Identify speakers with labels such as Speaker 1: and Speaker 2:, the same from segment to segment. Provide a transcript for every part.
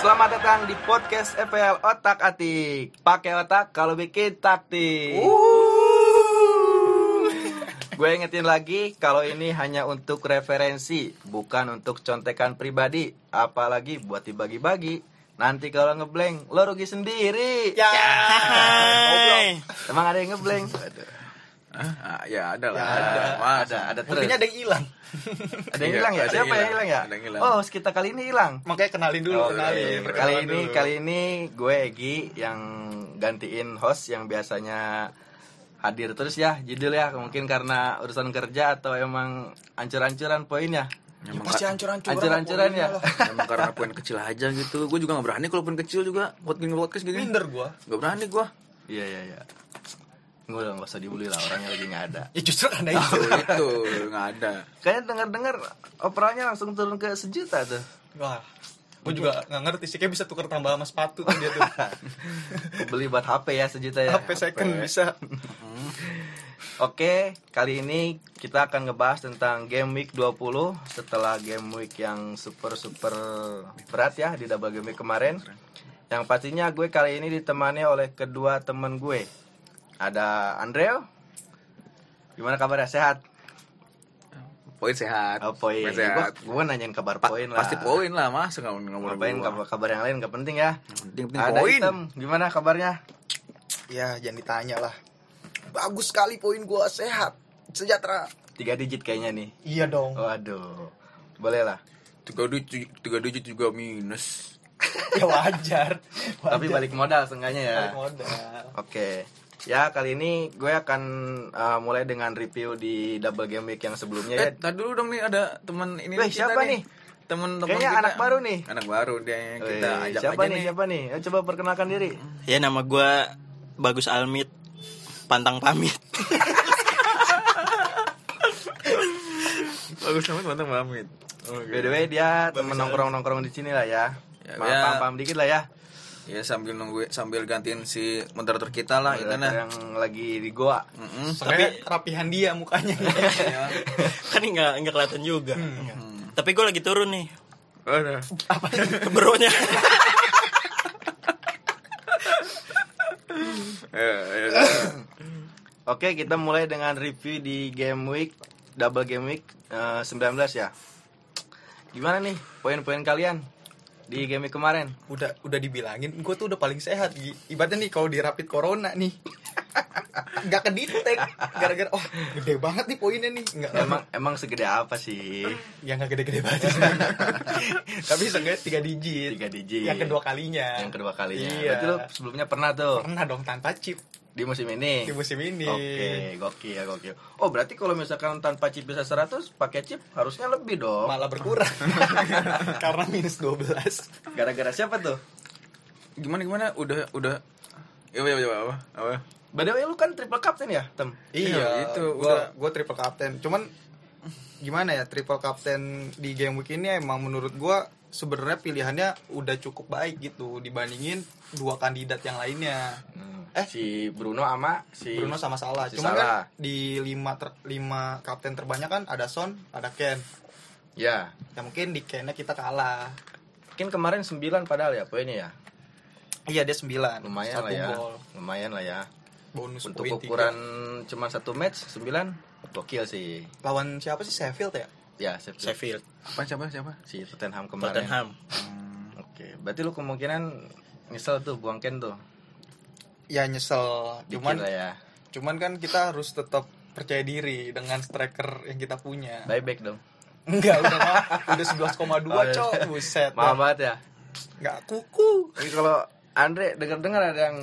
Speaker 1: Selamat datang di podcast FPL Otak Atik. Pakai otak kalau bikin taktik. Uh. Gue ingetin lagi kalau ini hanya untuk referensi, bukan untuk contekan pribadi, apalagi buat dibagi-bagi. Nanti kalau ngeblank, lo rugi sendiri.
Speaker 2: Ya.
Speaker 1: Emang ada yang ngeblank?
Speaker 3: Ah, ya ada lah.
Speaker 2: Ya,
Speaker 3: ada.
Speaker 1: ada,
Speaker 3: Mas,
Speaker 1: ada, ada terus.
Speaker 2: Buktinya ada yang hilang.
Speaker 1: Ada yang hilang ya?
Speaker 3: Ada yang
Speaker 1: Siapa yang
Speaker 3: hilang,
Speaker 1: hilang ya?
Speaker 3: ada yang hilang.
Speaker 1: Oh, host kita kali ini hilang.
Speaker 2: Makanya kenalin dulu,
Speaker 1: Oh,
Speaker 2: kenalin.
Speaker 1: iya,
Speaker 2: Perkenalan
Speaker 1: kali ini
Speaker 2: dulu.
Speaker 1: kali ini gue Egi yang gantiin host yang biasanya hadir terus ya judul ya mungkin karena urusan kerja atau emang ancur-ancuran poinnya
Speaker 3: Emang,
Speaker 2: Pasti
Speaker 3: ka-
Speaker 2: hancur-hancuran.
Speaker 1: ancur-ancuran ya
Speaker 3: emang karena poin kecil aja gitu. Gue juga gak berani kalau poin kecil juga buat gini podcast gini.
Speaker 2: Minder gua.
Speaker 3: Gak berani gue.
Speaker 1: iya iya iya gue udah gak usah dibully lah orangnya lagi nggak ada
Speaker 2: Ya justru karena itu.
Speaker 3: Tuh, itu nggak ada.
Speaker 1: kayaknya dengar-dengar operanya langsung turun ke sejuta tuh
Speaker 2: Wah. Gua juga nggak ngerti sih kayak bisa tukar tambah sama sepatu tuh dia tuh.
Speaker 1: beli buat HP ya sejuta ya
Speaker 2: HP second bisa.
Speaker 1: Oke, kali ini kita akan ngebahas tentang game week 20 setelah game week yang super super berat ya di double game week kemarin. Yang pastinya gue kali ini ditemani oleh kedua temen gue. Ada Andreo. Gimana kabarnya? Sehat?
Speaker 3: Poin sehat.
Speaker 1: Oh, poin.
Speaker 3: Poin
Speaker 1: Gue,
Speaker 3: sehat.
Speaker 1: gue nanyain kabar
Speaker 3: Pa-
Speaker 1: poin lah.
Speaker 3: Pasti poin lah mas. Nggak ngomong
Speaker 1: Ngapain kabar, kabar yang lain gak penting ya.
Speaker 3: Penting penting
Speaker 1: Ada
Speaker 3: poin.
Speaker 1: Item, gimana kabarnya?
Speaker 2: Ya, jangan ditanya lah. Bagus sekali poin gua sehat, sejahtera.
Speaker 1: Tiga digit kayaknya nih.
Speaker 2: Iya dong.
Speaker 1: Waduh. Boleh lah.
Speaker 3: Tiga digit, tiga digit juga minus.
Speaker 2: Ya wajar.
Speaker 1: Tapi balik modal seenggaknya ya.
Speaker 2: Balik modal.
Speaker 1: Oke. Ya, kali ini gue akan uh, mulai dengan review di double game week yang sebelumnya ya.
Speaker 3: Eh, tadi dulu dong nih ada teman ini
Speaker 1: Weh,
Speaker 3: kita
Speaker 1: siapa nih?
Speaker 3: Temen-temen
Speaker 1: Kayaknya
Speaker 3: kita.
Speaker 1: anak baru nih.
Speaker 3: Anak baru dia yang kita
Speaker 1: Wih,
Speaker 3: ajak
Speaker 1: siapa
Speaker 3: aja
Speaker 1: nih,
Speaker 3: nih. Hmm.
Speaker 1: Siapa nih? Ayo coba perkenalkan diri.
Speaker 4: Ya nama gua Bagus Almit Pantang pamit
Speaker 3: Bagus banget, mantap pamit. Oh, Oke.
Speaker 1: By the way, dia temen nongkrong-nongkrong di sini lah ya.
Speaker 3: Ya,
Speaker 1: Paham,
Speaker 3: ya.
Speaker 1: paham, paham dikit lah ya.
Speaker 3: Ya sambil nunggu sambil gantiin si moderator ya. kita lah itu nah.
Speaker 1: Yang lagi di Goa.
Speaker 3: Mm-mm.
Speaker 2: Tapi Iya. rapihan dia mukanya.
Speaker 4: Kan nggak nggak kelihatan juga
Speaker 2: Hmm.
Speaker 4: Tapi gua lagi turun nih
Speaker 3: Aduh.
Speaker 4: Bronya
Speaker 3: Ya, ya, ya.
Speaker 1: Oke, kita mulai dengan review di game week double game week eh, 19 ya. Gimana nih poin-poin kalian di game week kemarin?
Speaker 2: udah udah dibilangin gue tuh udah paling sehat Gi. ibaratnya nih kalau di rapid corona nih nggak kedetek gara-gara oh gede banget nih poinnya nih nggak
Speaker 1: Emang emang segede apa sih?
Speaker 2: ya nggak gede-gede banget sih. tapi seenggaknya tiga digit
Speaker 1: Tiga digit.
Speaker 2: yang kedua kalinya
Speaker 1: yang kedua kalinya.
Speaker 2: iya.
Speaker 1: Berarti lu sebelumnya pernah tuh
Speaker 2: pernah dong tanpa chip
Speaker 1: di musim ini.
Speaker 2: di musim ini
Speaker 1: Oke, gokil ya gokil. Oh, berarti kalau misalkan tanpa chip bisa 100, pakai chip harusnya lebih dong.
Speaker 2: malah berkurang karena minus 12
Speaker 1: Gara-gara siapa tuh?
Speaker 3: Gimana gimana? Udah udah. Ya, ya, ya, apa? Apa?
Speaker 1: By the way, lu kan triple captain ya, Tem?
Speaker 3: Iya, itu,
Speaker 2: gua
Speaker 3: udah.
Speaker 2: gue triple captain cuman gimana ya triple captain di game week ini emang menurut gua sebenarnya pilihannya udah cukup baik gitu dibandingin dua kandidat yang lainnya
Speaker 1: Eh,
Speaker 2: Eh.
Speaker 1: si Bruno sama si
Speaker 2: Bruno sama Salah
Speaker 1: Si
Speaker 2: cuman
Speaker 1: Salah.
Speaker 2: kan di lima ter- lima kapten terbanyak kan ada Son ada Ken
Speaker 1: Ya.
Speaker 2: ya mungkin di Kennya kita kalah
Speaker 1: Mungkin kemarin 9 padahal ya poinnya ya.
Speaker 2: iya dia sembilan
Speaker 1: Lumayan
Speaker 2: Satu
Speaker 1: lah ya.
Speaker 2: gol.
Speaker 1: Lumayan lah ya.
Speaker 2: bonus
Speaker 1: Untuk
Speaker 2: poin
Speaker 1: ukuran
Speaker 2: tiga.
Speaker 1: cuma satu match 9 gokil sih.
Speaker 2: lawan siapa sih Sheffield ya
Speaker 1: Ya, save save
Speaker 4: Sheffield
Speaker 3: Apa siapa siapa?
Speaker 1: si Tottenham kemarin.
Speaker 4: Tottenham
Speaker 1: Oke, berarti lu kemungkinan nyesel tuh buang Ken tuh.
Speaker 2: ya nyesel
Speaker 1: Dikit
Speaker 2: cuman
Speaker 1: lah ya.
Speaker 2: cuman kan kita harus tetap percaya diri dengan striker yang kita punya
Speaker 1: Buyback dong.
Speaker 2: Enggak, udah mah. Udah
Speaker 1: Oh, iya.
Speaker 2: 11,2, Cok. Buset.
Speaker 1: Mahal
Speaker 2: dah.
Speaker 1: banget ya.
Speaker 2: Enggak kuku.
Speaker 1: Tapi kalau Andre dengar-dengar ada yang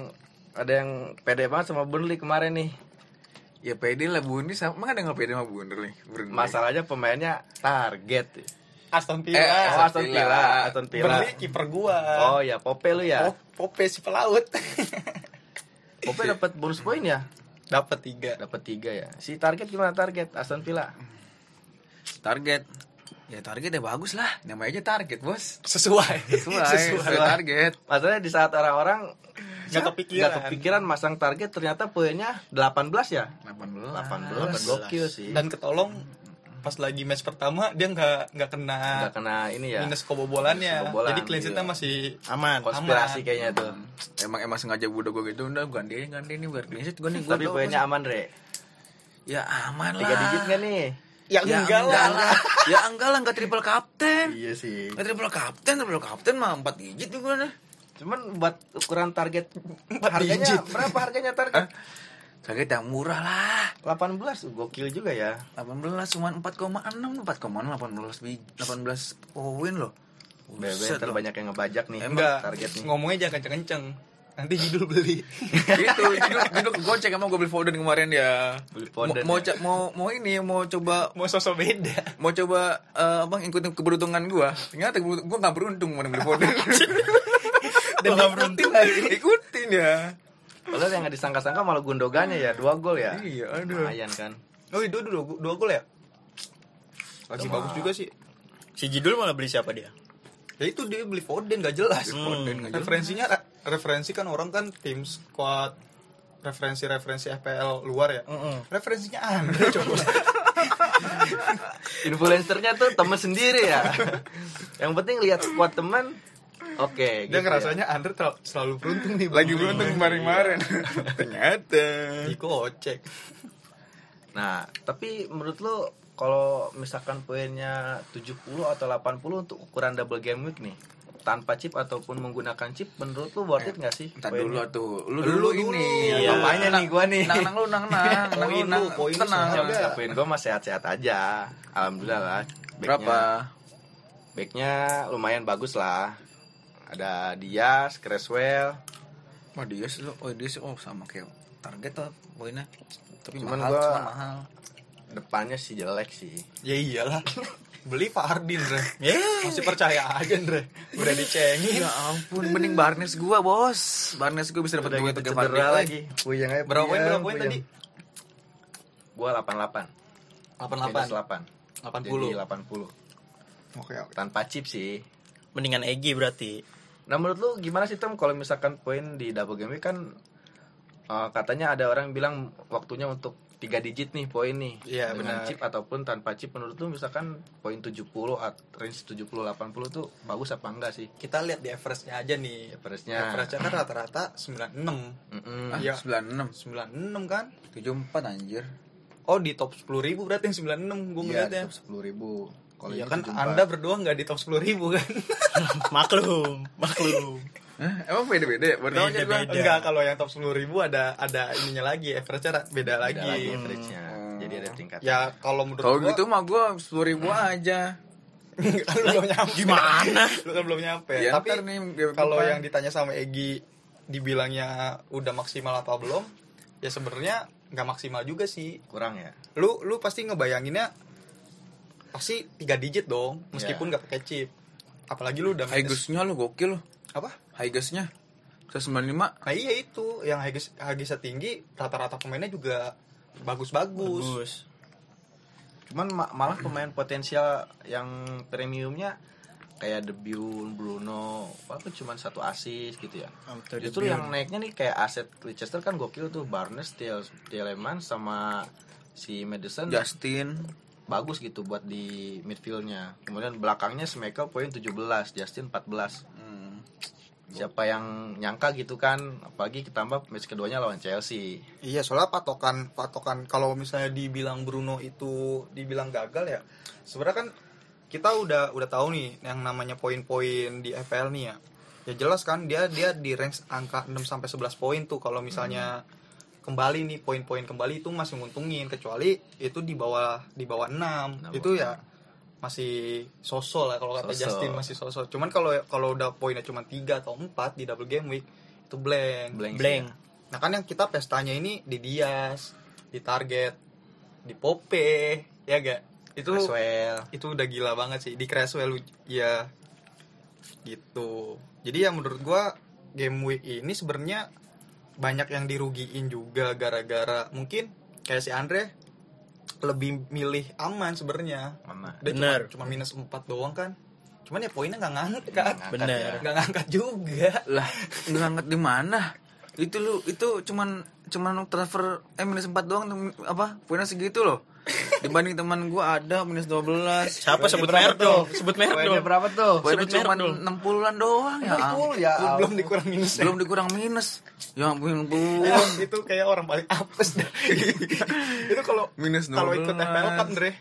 Speaker 1: ada yang pede banget sama Burnley kemarin nih.
Speaker 3: Ya PD lah Bundi sama emang ada nggak PD sama Bundi nih?
Speaker 1: Iya.
Speaker 3: Bundi.
Speaker 1: Masalahnya pemainnya target.
Speaker 2: Aston
Speaker 1: Eh,
Speaker 2: Villa.
Speaker 1: oh, Aston Villa, Aston Villa.
Speaker 2: Beli kiper gua.
Speaker 1: Oh ya, Pope lu ya.
Speaker 2: Pop- Pope si pelaut.
Speaker 1: Pope dapat bonus poin ya.
Speaker 2: Dapat tiga.
Speaker 1: Dapat tiga ya. Si target gimana target Aston Villa?
Speaker 3: target. Ya target ya bagus lah. Namanya aja target, Bos.
Speaker 2: Sesuai.
Speaker 3: Sesuai, sesuai target.
Speaker 1: Masalahnya di saat orang-orang
Speaker 2: Nggak kepikiran.
Speaker 1: nggak kepikiran masang target ternyata poinnya 18 ya. 18.
Speaker 3: 18.
Speaker 1: Gokil sih.
Speaker 2: Dan ketolong pas lagi match pertama dia nggak nggak kena
Speaker 1: nggak kena ini ya
Speaker 2: minus kebobolannya.
Speaker 1: Minus kebobolan,
Speaker 2: Jadi clean sheet-nya
Speaker 1: iya.
Speaker 2: masih
Speaker 5: aman
Speaker 1: konspirasi
Speaker 2: aman.
Speaker 1: kayaknya tuh
Speaker 3: Emang emang sengaja udah gue gitu udah ganti ganti nih biar clean sheet gue nih gue.
Speaker 1: tapi poinnya aman re
Speaker 3: ya aman lah.
Speaker 1: tiga digit nggak nih
Speaker 2: ya,
Speaker 3: Ya
Speaker 2: enggak lah.
Speaker 3: ya enggak lah enggak triple captain.
Speaker 1: iya sih
Speaker 3: Enggak triple captain, triple captain mah empat digit tuh gue nih.
Speaker 1: cuman buat ukuran target harganya berapa harganya target
Speaker 3: Target yang murah lah.
Speaker 1: 18 gokil juga ya
Speaker 3: 18 cuma 4,6 4,6 18 biji- 18 poin loh.
Speaker 1: Bebe
Speaker 3: Buset, loh.
Speaker 1: terbanyak yang ngebajak nih
Speaker 2: Enggak.
Speaker 1: target nih
Speaker 2: Ngomongnya jangan kenceng-kenceng. Nanti judul beli.
Speaker 3: gitu judul judul goceng emang gue beli Foden kemarin ya
Speaker 1: Beli Foden
Speaker 3: mau, mau,
Speaker 1: ya.
Speaker 3: ca- mau mau ini mau coba
Speaker 2: Mau sosok beda.
Speaker 3: mau coba eh, apa ngikutin keberuntungan gue ternyata gue nggak beruntung kemarin beli Foden
Speaker 2: Dan gak beruntung
Speaker 3: ikutin ya
Speaker 1: Padahal yang gak disangka-sangka malah gundogannya ya dua gol ya
Speaker 3: iya aduh
Speaker 1: lumayan kan
Speaker 2: Oh, itu dua, dua, dua gol ya? Lagi bagus juga sih.
Speaker 4: Si Jidul malah beli siapa dia?
Speaker 2: Ya itu dia beli Foden gak jelas.
Speaker 3: Foden nggak jelas.
Speaker 2: Referensinya referensi kan orang kan tim squad referensi-referensi FPL luar ya. Referensinya Andre coba.
Speaker 1: Influencernya tuh temen sendiri ya Yang penting lihat squad temen Oke
Speaker 2: Dia
Speaker 1: gitu
Speaker 2: ngerasanya Andre tel- selalu beruntung nih.
Speaker 3: lagi beruntung kemarin kemarin Iya. ternyata
Speaker 2: Iko cek.
Speaker 1: ya. Nah tapi menurut lo kalau misalkan poinnya 70 atau 80 untuk ukuran double game week nih tanpa chip ataupun menggunakan chip menurut lo worth it gak sih?
Speaker 3: Ntar
Speaker 1: poinnya?
Speaker 3: dulu tuh lu
Speaker 2: Lu dulu.
Speaker 3: dulu, ini
Speaker 1: Iya.
Speaker 3: Apanya
Speaker 1: Nang-
Speaker 3: nang nang lu nang nang nang lu
Speaker 2: Poin lu,
Speaker 3: nang
Speaker 2: poin lu sama.
Speaker 3: tenang
Speaker 1: Jangan
Speaker 2: Enggak.
Speaker 1: poin gue masih sehat-sehat aja Alhamdulillah lah Backnya-
Speaker 3: berapa
Speaker 1: Backnya lumayan bagus lah Ada Diaz, Creswell
Speaker 3: Oh dia sih lo, oh dia sih, oh sama kayak target tuh poinnya. Tapi
Speaker 1: Cuman
Speaker 3: mahal,
Speaker 1: gua-
Speaker 3: cuman mahal.
Speaker 1: Depannya sih jelek sih
Speaker 2: Ya iyalah. beli Fardin, Andre.
Speaker 4: Yeah.
Speaker 2: Masih percaya aja, Andre. Udah dicengin.
Speaker 3: Ya ampun, mending Barnes gua bos. Barnes gua bisa
Speaker 1: Udah
Speaker 3: dapat dua
Speaker 1: gitu
Speaker 3: tiga
Speaker 1: cedera
Speaker 3: Barnes
Speaker 1: lagi Puyeng aja
Speaker 2: Berapa poin berapa
Speaker 1: puyeng,
Speaker 2: poin
Speaker 1: puyeng.
Speaker 2: tadi?
Speaker 1: Gua 88 Minus 8
Speaker 2: 88. 80.
Speaker 1: Jadi 80
Speaker 2: Oke, oke.
Speaker 1: Tanpa chip sih
Speaker 4: Mendingan Egi berarti.
Speaker 1: Nah menurut lu gimana sih Tom kalau misalkan poin di double game week kan eh, Katanya ada orang bilang waktunya untuk tiga digit nih poin nih
Speaker 2: Iya,
Speaker 1: dengan
Speaker 2: benar.
Speaker 1: chip ataupun tanpa chip menurut lu misalkan poin 70 at range 70 80 tuh bagus apa enggak sih?
Speaker 2: Kita lihat di average-nya aja nih.
Speaker 1: Average-nya.
Speaker 2: Average-nya kan rata-rata 96.
Speaker 1: Mm-mm.
Speaker 3: Ah,
Speaker 2: Iya.
Speaker 3: 96,
Speaker 2: 96 kan?
Speaker 3: 74 anjir.
Speaker 2: Oh di top 10.000 ribu berarti yang 96 gue
Speaker 1: Iya,
Speaker 2: ngeliatnya
Speaker 1: sepuluh ribu. Kalau
Speaker 2: ya. Iya
Speaker 1: ini
Speaker 2: kan
Speaker 1: 74.
Speaker 2: anda berdua nggak di top 10.000 ribu kan
Speaker 4: maklum, maklum.
Speaker 3: Hah, emang beda-beda ya? Baru tahu aja gua.
Speaker 4: Beda-beda.
Speaker 2: Enggak kalau yang top 10.000 ribu ada ada ininya lagi average-nya ra- beda
Speaker 1: Ada
Speaker 2: lagi,
Speaker 1: lagi average-nya. Jadi ada tingkatan.
Speaker 2: Ya kalau menurut
Speaker 3: Kalau
Speaker 2: gua,
Speaker 3: gitu mah gua 10 ribu aja.
Speaker 2: kan lu belum nyampe
Speaker 4: Gimana?
Speaker 2: Lu kan belum nyampe
Speaker 3: Ya,
Speaker 2: Tapi
Speaker 3: ntar nih, ya,
Speaker 2: kalau
Speaker 3: depan.
Speaker 2: yang ditanya sama Egi Dibilangnya udah maksimal apa belum Ya sebenarnya nggak maksimal juga sih
Speaker 1: kurang ya.
Speaker 2: lu lu pasti ngebayanginnya pasti tiga digit dong
Speaker 1: Iya.
Speaker 2: meskipun nggak pakai chip apalagi lu udah minus-
Speaker 3: Highgusnya lo gokil lo.
Speaker 2: apa
Speaker 3: Highgusnya 195.
Speaker 2: nah iya itu yang haggis haggisnya tinggi rata-rata pemainnya juga bagus-bagus
Speaker 4: Bagus.
Speaker 1: Cuman ma- malah pemain potensial yang premiumnya kayak Debiun, Bruno, walaupun cuman satu asis gitu ya. Justru yang naiknya nih kayak aset Leicester kan gokil tuh Barnes, Tiel- Tielemans sama si Madison
Speaker 3: Justin
Speaker 1: bagus gitu buat di midfieldnya. Kemudian belakangnya Smekel poin 17, Justin 14.
Speaker 3: Hmm.
Speaker 1: Siapa yang nyangka gitu kan? Apalagi ditambah match keduanya lawan Chelsea.
Speaker 2: iya soalnya patokan patokan kalau misalnya dibilang Bruno itu dibilang gagal ya sebenarnya kan kita udah udah tahu nih yang namanya poin-poin di FPL nih ya ya jelas kan dia dia di range angka 6 sampai 11 poin tuh kalau misalnya kembali nih poin-poin kembali itu masih nguntungin kecuali itu di bawah di bawah 6
Speaker 1: Nah,
Speaker 2: itu
Speaker 1: bawah
Speaker 2: ya masih sosol lah kalau kata
Speaker 1: Sosol.
Speaker 2: Justin masih sosol cuman kalau kalau udah poinnya cuma 3 atau 4 di double game week itu blank
Speaker 1: Blank.
Speaker 4: Blank.
Speaker 2: Nah kan yang kita pestanya ini di Dias, di Target, di Pope, ya gak? Itu
Speaker 1: Maxwell.
Speaker 2: itu udah gila banget sih di Creswell ya gitu. Jadi ya menurut gua game week ini sebenarnya banyak yang dirugiin juga gara-gara mungkin kayak si Andre lebih milih aman sebenarnya.
Speaker 1: Aman.
Speaker 2: Dia cuma-
Speaker 4: Bener.
Speaker 2: Cuma, minus 4 doang kan. Cuman ya poinnya nggak ngangkat kan.
Speaker 4: Bener.
Speaker 1: ya.
Speaker 2: Nggak ngangkat juga.
Speaker 3: lah ngangkat di mana itu lu itu cuman cuman transfer eh minus empat doang tem- apa poinnya segitu loh dibanding teman gua ada minus 12
Speaker 4: Siapa sebut merek dong? Sebut merek
Speaker 1: Poinnya
Speaker 4: dong.
Speaker 1: berapa tuh?
Speaker 3: Poinnya
Speaker 4: Sebut merek
Speaker 3: cuma
Speaker 4: dong.
Speaker 3: 60-an doang ya. ampun.
Speaker 1: 60 ya.
Speaker 2: belum
Speaker 1: ampun.
Speaker 2: dikurang minus
Speaker 3: Belum dikurang minus. Ya ampun, Bu.
Speaker 2: Ya, itu kayak orang paling apes dah. itu kalau
Speaker 3: Minus
Speaker 2: kalau ikut
Speaker 3: 12.
Speaker 2: FPL Cup Dre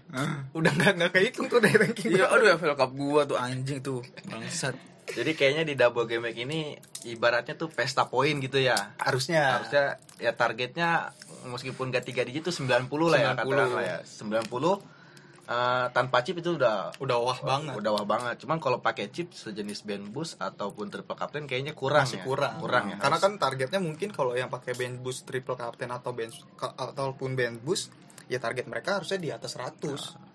Speaker 2: udah nggak nggak kehitung tuh dari ranking
Speaker 3: Iya, aduh FL Cup gua tuh anjing tuh. Bangsat.
Speaker 1: Jadi kayaknya di double game week ini ibaratnya tuh pesta poin gitu ya.
Speaker 2: harusnya
Speaker 1: harusnya ya targetnya meskipun gak tiga digit itu 90 lah ya
Speaker 2: 90.
Speaker 1: katakanlah ya 90 eh, tanpa chip itu udah
Speaker 2: udah wah banget
Speaker 1: udah wah banget cuman kalau pakai chip sejenis band boost ataupun triple captain kayaknya kurang
Speaker 2: masih
Speaker 1: ya.
Speaker 2: kurang
Speaker 1: kurang ya
Speaker 2: karena kan targetnya mungkin kalau yang pakai band boost triple captain atau band ataupun band boost ya target mereka harusnya di atas 100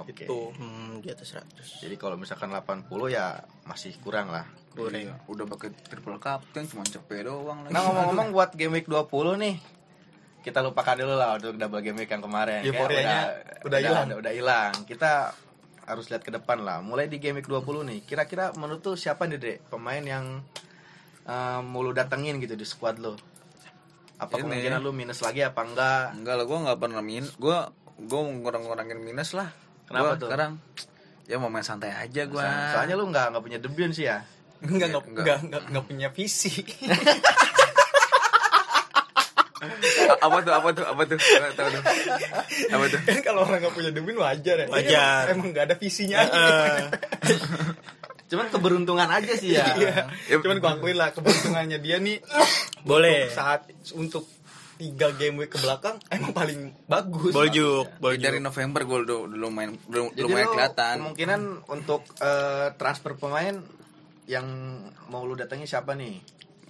Speaker 1: Nah, oke
Speaker 2: gitu
Speaker 4: Hmm, di atas 100.
Speaker 1: jadi kalau misalkan 80 ya masih kurang lah
Speaker 3: Iya, udah pakai triple captain cuma cepet doang lagi.
Speaker 1: nah ngomong-ngomong buat game week 20 nih kita lupakan dulu lah untuk double game week yang kemarin Kayak
Speaker 2: Euforianya udah hilang.
Speaker 1: udah hilang kita harus lihat ke depan lah mulai di game week 20 nih kira-kira menurut tuh siapa nih Dre pemain yang eh, mau lu datengin gitu di squad lo apa
Speaker 3: Ini.
Speaker 1: kemungkinan lu minus lagi apa enggak
Speaker 3: enggak lah gua nggak pernah min. Gua gua ngurang-ngurangin minus lah.
Speaker 1: Kenapa
Speaker 3: Gua
Speaker 1: tuh?
Speaker 3: Sekarang ya mau main santai aja gua.
Speaker 1: soalnya lu nggak nggak punya debut sih ya
Speaker 2: Enggak, enggak,
Speaker 3: Enggak.
Speaker 2: enggak, enggak, enggak punya visi.
Speaker 3: A- apa tuh apa tuh apa tuh Apa tuh, apa tuh? apa tuh
Speaker 2: kan kalau orang enggak punya debin wajar ya.
Speaker 4: Wajar.
Speaker 2: Ini Emang, emang enggak ada visinya.
Speaker 4: Eh,
Speaker 1: cuman keberuntungan aja sih ya
Speaker 2: Iya.
Speaker 3: Iya.
Speaker 2: Cuman gua akuin lah keberuntungannya dia nih
Speaker 4: boleh.
Speaker 2: saat untuk tiga game week ke belakang emang paling bagus.
Speaker 4: Boljuk,
Speaker 3: Ya, dari
Speaker 4: boljuk.
Speaker 3: November gue udah udah lumayan udah
Speaker 1: Jadi
Speaker 3: lumayan
Speaker 1: lu
Speaker 3: kelihatan
Speaker 1: kemungkinan untuk eh, transfer pemain yang mau lu datangi siapa nih?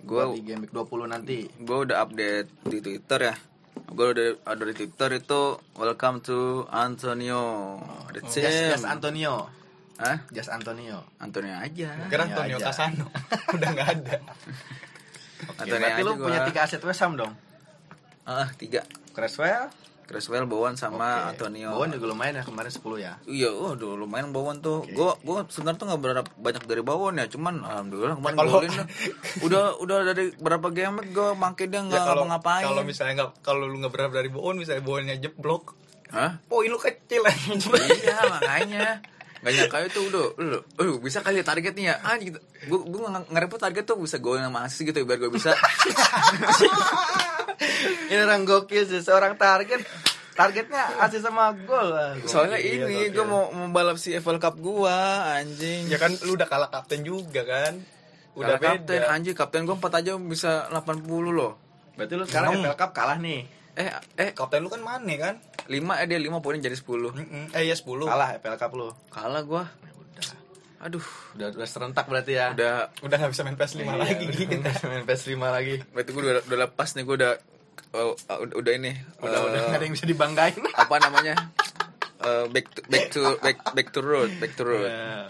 Speaker 3: Gua-
Speaker 1: Buat di game week 20 nanti.
Speaker 3: gue udah update di Twitter ya gue udah ada di Twitter itu welcome to Antonio the
Speaker 1: Jas, Jas
Speaker 3: team
Speaker 1: Antonio.
Speaker 3: Hah?
Speaker 1: Jas Antonio.
Speaker 3: Antonio aja
Speaker 2: Kira Antonio
Speaker 1: Iya aja.
Speaker 2: Casano udah enggak ada.
Speaker 1: Oke,
Speaker 3: Antonio
Speaker 1: berarti
Speaker 3: aja
Speaker 1: lu
Speaker 3: gua.
Speaker 1: punya tiga aset West Ham dong.
Speaker 3: ah tiga
Speaker 1: Creswell,
Speaker 3: Creswell Bowen sama
Speaker 1: oke. eh,
Speaker 3: Antonio
Speaker 1: Bowen juga lumayan ya kemarin 10 ya.
Speaker 3: Iya, waduh lumayan Bowen tuh. Gue gue sebenarnya tuh nggak berharap banyak dari Bowen ya, cuman alhamdulillah kemarin
Speaker 2: Kalau-
Speaker 3: golin lah. Udah udah dari berapa game gue makin dia nggak
Speaker 2: Ya, kalau
Speaker 3: ngapa-ngapain.
Speaker 2: Kalau misalnya enggak kalau lu enggak berharap dari Bowen misalnya Bowennya jeblok,
Speaker 3: Hah?
Speaker 2: poin lu kecil aja.
Speaker 3: iya makanya Gak nyangka itu udah, udah, uh, bisa kali ya targetnya ya ah, gitu. Gue gue ngerepot target tuh bisa gue sama asis gitu biar gue bisa
Speaker 1: Ini orang gokil sih, seorang target targetnya asis sama gol. Ah, gokil,
Speaker 3: Soalnya ini
Speaker 1: gokil.
Speaker 3: gue mau mau balap si FL Cup gue anjing
Speaker 2: ya kan lu udah kalah kapten juga kan. Udah
Speaker 3: Udah
Speaker 2: beda.
Speaker 3: kapten anjing kapten gue 4 aja bisa 80 loh
Speaker 1: Berarti lu sekarang FL Cup kalah nih.
Speaker 3: Eh eh
Speaker 2: Kapten lu kan Mane kan?
Speaker 3: 5 eh dia 5 poinnya jadi 10
Speaker 2: Mm-mm. Eh ya 10.
Speaker 1: Kalah FL Cup lu.
Speaker 3: Kalah gue
Speaker 1: Ya udah.
Speaker 3: Aduh
Speaker 1: Udah udah serentak berarti ya.
Speaker 3: Udah
Speaker 2: Udah nggak bisa main PS5 lagi
Speaker 1: Iya,
Speaker 2: gitu.
Speaker 1: udah main PS5 lagi.
Speaker 3: Berarti gue udah, udah lepas nih gue udah oh, ah, udah- Udah ini
Speaker 1: Udah
Speaker 3: eh,
Speaker 1: udah nggak ada yang bisa dibanggain.
Speaker 3: Apa namanya Eh, back to back to back, back to road back to road
Speaker 1: Iya. Nah.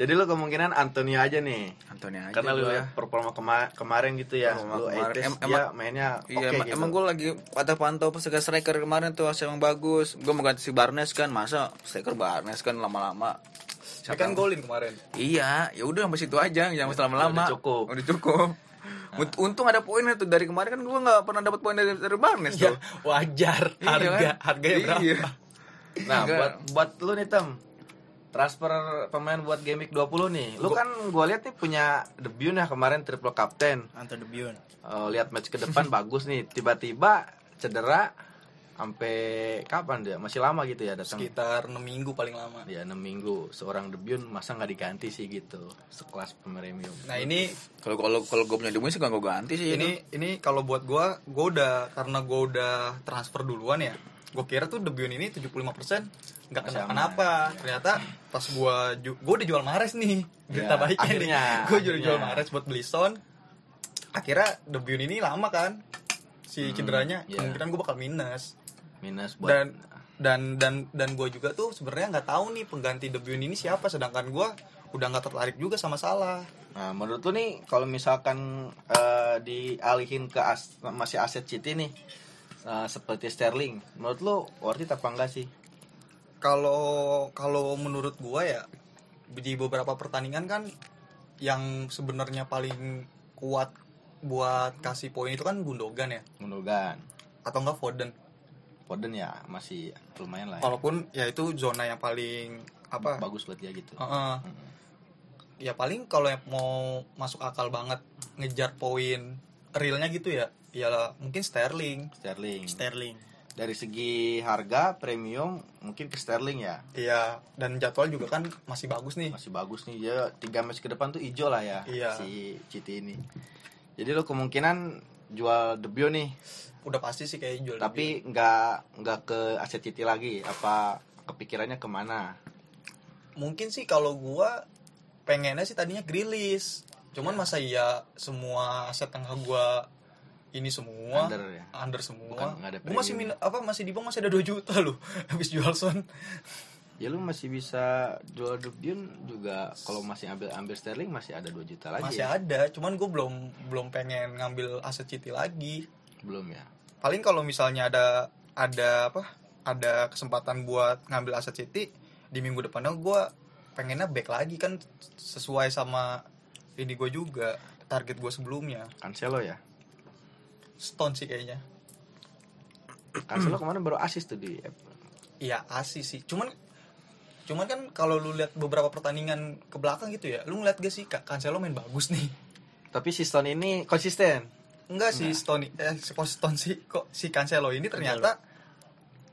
Speaker 1: Jadi lu kemungkinan Antonio aja nih.
Speaker 3: Antonio aja
Speaker 1: Karena lu ya.
Speaker 3: gua.
Speaker 1: lihat performa kema- kemarin gitu ya.
Speaker 3: Performa
Speaker 1: Lu
Speaker 3: kemarin.
Speaker 1: Aites
Speaker 3: Em-
Speaker 1: dia
Speaker 3: emang-
Speaker 1: mainnya oke
Speaker 3: Iya, emang,
Speaker 1: gitu.
Speaker 3: gue lagi patah pantau Sega striker kemarin tuh hasil yang bagus. Gue mau ganti si Barnes kan, masa striker Barnes kan lama-lama.
Speaker 2: Dia
Speaker 3: Siapa
Speaker 2: kan
Speaker 3: yang-
Speaker 2: golin kemarin.
Speaker 3: Iya, ya udah sampai situ aja, jangan usah lama-lama.
Speaker 1: Udah cukup.
Speaker 3: Udah cukup. Nah. Unt- Untung ada poinnya tuh dari kemarin kan gue nggak pernah dapat poin dari, dari Barnes
Speaker 2: Ya,
Speaker 3: tuh.
Speaker 2: wajar.
Speaker 3: Iya
Speaker 2: Harga
Speaker 3: kan?
Speaker 2: harganya berapa?
Speaker 3: Iya.
Speaker 1: Nah,
Speaker 3: Enggak.
Speaker 1: buat buat lu nih Tem. Transfer pemain buat Game Week 20 nih. Lu kan gua lihat nih punya debut ya kemarin triple captain.
Speaker 4: Anto de Bion.
Speaker 1: Eh, lihat match ke depan bagus nih. Tiba-tiba cedera sampai kapan dia? Masih lama gitu ya datang.
Speaker 2: Sekitar 6 minggu paling lama.
Speaker 1: Ya 6 minggu seorang debut masa nggak diganti sih gitu. Sekelas premium.
Speaker 2: Nah, ini
Speaker 3: Kalau kalau kalau gue punya duit sih gak gue ganti sih.
Speaker 2: ini ini kalau buat gua, gua udah karena gua udah transfer duluan ya. Gua kira tuh debut ini 75% nggak
Speaker 1: Masih aman.
Speaker 2: kenapa-kenapa. Ternyata pas gua ju- gua udah jual Mares nih. Berita
Speaker 1: Ya,
Speaker 2: baiknya
Speaker 1: akhirnya,
Speaker 2: nih. Gua jual
Speaker 1: akhirnya.
Speaker 2: jual Mares buat beli Son. Akhirnya debut ini lama kan. Si cederanya
Speaker 1: iya.
Speaker 2: kemungkinan gua bakal minus.
Speaker 1: Minus buat
Speaker 2: dan dan dan dan gue juga tuh sebenarnya nggak tahu nih pengganti debut ini siapa sedangkan gue udah nggak tertarik juga sama salah
Speaker 1: Nah, menurut lu nih kalau misalkan eh, dialihin ke as- masih aset City nih eh, seperti Sterling, menurut lu worth it apa enggak sih?
Speaker 2: kalau kalau menurut gue ya di beberapa pertandingan kan yang sebenarnya paling kuat buat kasih poin itu kan Gundogan ya
Speaker 1: Gundogan.
Speaker 2: atau enggak Foden
Speaker 1: Foden ya masih lumayan lah ya.
Speaker 2: walaupun ya itu zona yang paling apa
Speaker 1: bagus buat dia gitu
Speaker 2: Heeh. ya paling kalau yang mau masuk akal banget ngejar poin realnya gitu ya ya mungkin Sterling
Speaker 1: Sterling
Speaker 4: Sterling.
Speaker 1: dari segi harga premium mungkin ke Sterling ya
Speaker 2: iya dan jadwal juga kan masih bagus nih
Speaker 1: masih bagus nih ya tiga match ke depan tuh ijo lah ya
Speaker 2: Iya.
Speaker 1: si Citi ini jadi lo kemungkinan jual Debio nih
Speaker 2: udah pasti sih kayak jual
Speaker 1: tapi nggak nggak ke aset Citi lagi apa kepikirannya kemana
Speaker 2: mungkin sih kalau gua pengennya sih tadinya grilis cuman masa iya semua aset tengah gua ini semua
Speaker 1: Under ya?
Speaker 2: under semua
Speaker 1: Bukan, nggak ada
Speaker 2: Gua masih
Speaker 1: premium.
Speaker 2: min- apa masih di bank masih ada 2 juta loh habis jual son
Speaker 1: ya lu masih bisa jual Dubdin juga kalau masih ambil ambil Sterling masih ada 2 juta lagi
Speaker 2: masih
Speaker 1: ya?
Speaker 2: ada cuman gua belum belum pengen ngambil aset city lagi
Speaker 1: belum ya
Speaker 2: paling kalau misalnya ada ada apa ada kesempatan buat ngambil aset city di minggu depannya gua pengennya back lagi kan sesuai sama ini gue juga target gue sebelumnya
Speaker 1: Cancelo ya
Speaker 2: Stone sih kayaknya.
Speaker 1: Cancelo kemarin baru asis tuh di
Speaker 2: Iya asis sih. Cuman cuman kan kalau lu lihat beberapa pertandingan ke belakang gitu ya, lu ngeliat gak sih Kak Cancelo main bagus nih?
Speaker 1: tapi si Stone ini konsisten
Speaker 2: Enggak sih Stone eh si kok Stone sih kok si Cancelo ini ternyata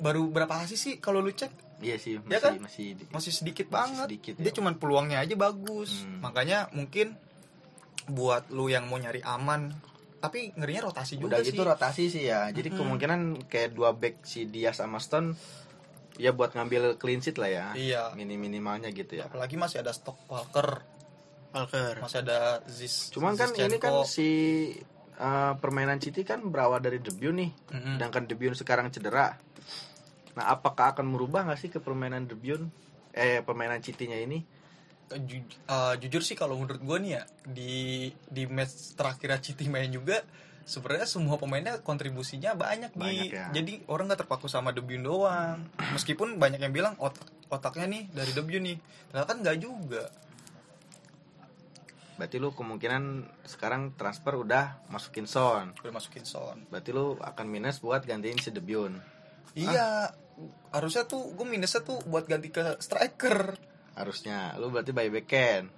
Speaker 2: baru berapa asis sih kalau lu cek
Speaker 1: iya sih masih
Speaker 2: Ya kan?
Speaker 1: masih di-
Speaker 2: masih sedikit
Speaker 1: Masih
Speaker 2: banget.
Speaker 1: sedikit,
Speaker 2: Dia
Speaker 1: ya.
Speaker 2: cuman peluangnya aja bagus.
Speaker 1: Hmm.
Speaker 2: Makanya mungkin buat lu yang mau nyari aman tapi ngerinya rotasi
Speaker 1: udah
Speaker 2: juga sih.
Speaker 1: gitu rotasi sih ya jadi kemungkinan kayak dua back si Diaz sama Stone ya buat ngambil clean sheet lah ya
Speaker 2: Iya.
Speaker 1: minim minimalnya gitu ya
Speaker 2: Apalagi masih ada stok Walker,
Speaker 4: Walker.
Speaker 2: masih ada Zis.
Speaker 1: cuman kan ini kan
Speaker 2: Zinchenko.
Speaker 1: si eh, permainan City kan berawal dari debut nih
Speaker 2: Mm-mm.
Speaker 1: sedangkan debut sekarang cedera nah apakah akan merubah nggak sih ke permainan debut eh permainan City-nya ini
Speaker 2: Ju- uh, jujur sih kalau menurut gue nih ya di di match terakhir Citi main juga sebenarnya semua pemainnya kontribusinya banyak,
Speaker 1: Banyak
Speaker 2: di
Speaker 1: ya.
Speaker 2: jadi orang nggak terpaku sama debut doang meskipun banyak yang bilang otak otaknya nih dari debut nih ternyata kan nggak juga
Speaker 1: berarti lu kemungkinan sekarang transfer udah masukin Son
Speaker 2: udah masukin son
Speaker 1: berarti lu akan minus buat gantiin si debut
Speaker 2: iya harusnya tuh gue minusnya tuh buat ganti ke striker
Speaker 1: harusnya lu berarti by backhand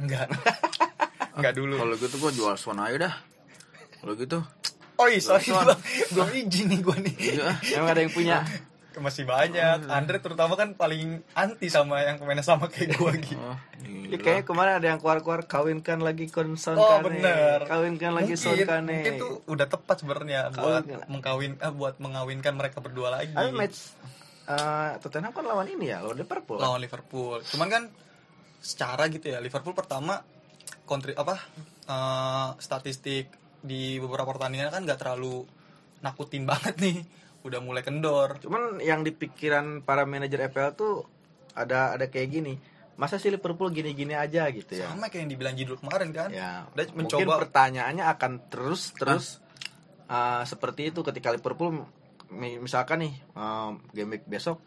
Speaker 2: enggak enggak dulu
Speaker 3: Kalau gitu gua jual Son aja dah. Kalau gitu,
Speaker 2: oh iya sorry
Speaker 3: Son.
Speaker 2: bang belum izin nih gue nih
Speaker 3: iya.
Speaker 1: Ah, emang ada yang punya
Speaker 2: masih
Speaker 1: Oh, iya.
Speaker 2: banyak Andre terutama kan paling anti sama yang pemainnya sama kayak gue gitu
Speaker 3: Oh,
Speaker 1: Ya,
Speaker 3: gila.
Speaker 1: kayaknya kemarin ada yang keluar-keluar kawinkan lagi kon Son
Speaker 2: Oh
Speaker 1: Kane.
Speaker 2: bener
Speaker 1: Kawinkan lagi Son
Speaker 2: mungkin,
Speaker 1: Kane.
Speaker 2: mungkin tuh udah tepat sebenarnya buat
Speaker 1: Kawin-
Speaker 2: mengkawin eh, buat mengawinkan mereka berdua lagi
Speaker 1: Tapi match eh, Tottenham kan lawan ini ya, lawan Liverpool.
Speaker 2: lawan Liverpool. Cuman kan secara gitu ya Liverpool pertama kontri apa eh, statistik di beberapa pertandingan kan nggak terlalu nakutin banget nih. Udah mulai kendor.
Speaker 1: Cuman yang di pikiran para manajer EPL tuh ada ada kayak gini. Masa sih Liverpool gini-gini aja gitu ya.
Speaker 3: Iya.
Speaker 2: Sama kayak yang dibilang judul kemarin kan.
Speaker 1: Ya,
Speaker 2: Dia
Speaker 1: mungkin
Speaker 2: mencoba-
Speaker 1: pertanyaannya akan terus terus eh, seperti itu ketika Liverpool mi- misalkan nih eh, game week besok